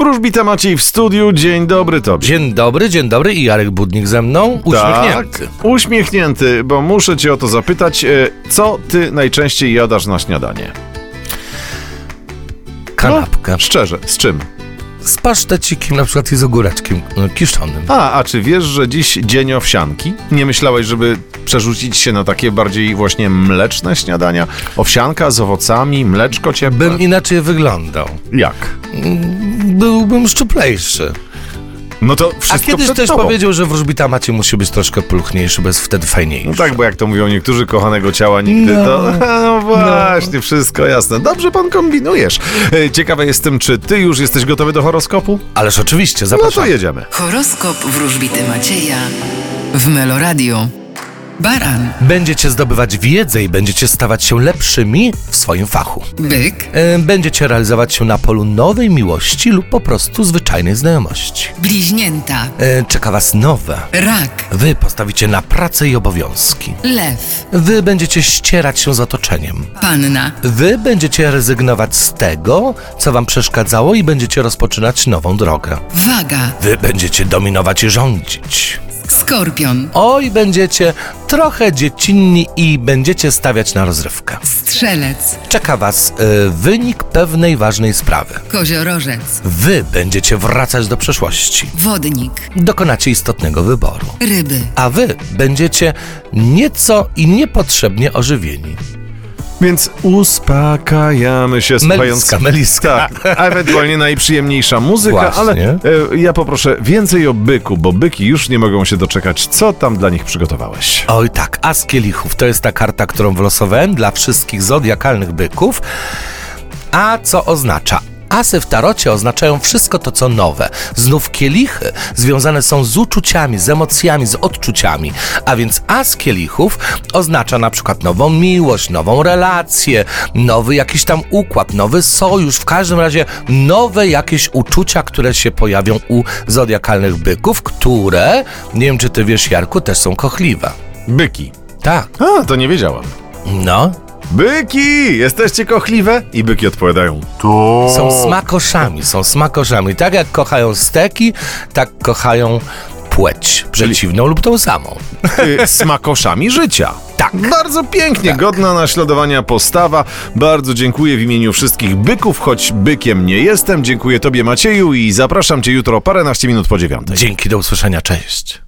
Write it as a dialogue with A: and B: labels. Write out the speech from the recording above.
A: Wróżbita Maciej w studiu, dzień dobry tobie.
B: Dzień dobry, dzień dobry i Jarek Budnik ze mną, uśmiechnięty.
A: Tak, uśmiechnięty, bo muszę cię o to zapytać, e, co ty najczęściej jadasz na śniadanie?
B: Kanapkę.
A: No, szczerze, z czym?
B: Z pasztecikiem na przykład i z ogóreczkiem no, kiszonym.
A: A, a czy wiesz, że dziś dzień owsianki? Nie myślałeś, żeby przerzucić się na takie bardziej właśnie mleczne śniadania? Owsianka z owocami, mleczko ciepłe?
B: Bym inaczej wyglądał.
A: Jak?
B: Byłbym szczuplejszy.
A: No to wszystko
B: A kiedyś
A: przed
B: też
A: tobą.
B: powiedział, że wróżbita Maciej musi być troszkę pulchniejszy, bo jest wtedy fajniejszy.
A: No tak, bo jak to mówią niektórzy, kochanego ciała nigdy,
B: No.
A: to no właśnie, wszystko jasne. Dobrze pan kombinujesz. E, Ciekawe jestem, czy ty już jesteś gotowy do horoskopu?
B: Ależ oczywiście,
A: No
B: zapraszam.
A: to jedziemy.
C: Horoskop wróżbity Macieja w Meloradio. Baran,
B: Będziecie zdobywać wiedzę i będziecie stawać się lepszymi w swoim fachu.
C: byk,
B: E, Będziecie realizować się na polu nowej miłości lub po prostu zwyczajnej znajomości.
C: bliźnięta,
B: E, Czeka was nowe.
C: rak,
B: Wy postawicie na pracę i obowiązki.
C: lew,
B: Wy będziecie ścierać się z otoczeniem.
C: panna,
B: Wy będziecie rezygnować z tego, co wam przeszkadzało i będziecie rozpoczynać nową drogę.
C: waga,
B: Wy będziecie dominować i rządzić.
C: skorpion,
B: Oj, będziecie trochę dziecinni i będziecie stawiać na rozrywkę.
C: strzelec,
B: Czeka was y, wynik pewnej ważnej sprawy.
C: koziorożec,
B: Wy będziecie wracać do przeszłości.
C: wodnik,
B: Dokonacie istotnego wyboru.
C: ryby,
B: A wy będziecie nieco i niepotrzebnie ożywieni.
A: Więc uspokajamy się słuchając...
B: Meliska, meliska.
A: Tak, a ewentualnie najprzyjemniejsza muzyka,
B: Właśnie.
A: ale e, ja poproszę więcej o byku, bo byki już nie mogą się doczekać, co tam dla nich przygotowałeś.
B: Oj tak, As Kielichów to jest ta karta, którą wylosowałem dla wszystkich zodiakalnych byków. A co oznacza? Asy w tarocie oznaczają wszystko to, co nowe. Znów kielichy związane są z uczuciami, z emocjami, z odczuciami. A więc as kielichów oznacza na przykład nową miłość, nową relację, nowy jakiś tam układ, nowy sojusz, w każdym razie nowe jakieś uczucia, które się pojawią u zodiakalnych byków, które, nie wiem czy ty wiesz Jarku, też są kochliwe.
A: Byki.
B: Tak.
A: A, to nie wiedziałam.
B: No,
A: Byki! Jesteście kochliwe? I byki odpowiadają.
B: Są smakoszami, są smakoszami. Tak jak kochają steki, tak kochają płeć przeciwną lub tą samą.
A: Y, smakoszami życia.
B: Tak.
A: Bardzo pięknie, godna naśladowania postawa. Bardzo dziękuję w imieniu wszystkich byków, choć bykiem nie jestem. Dziękuję Tobie, Macieju, i zapraszam Cię jutro o paręnaście minut po dziewiątej.
B: Dzięki, do usłyszenia, cześć.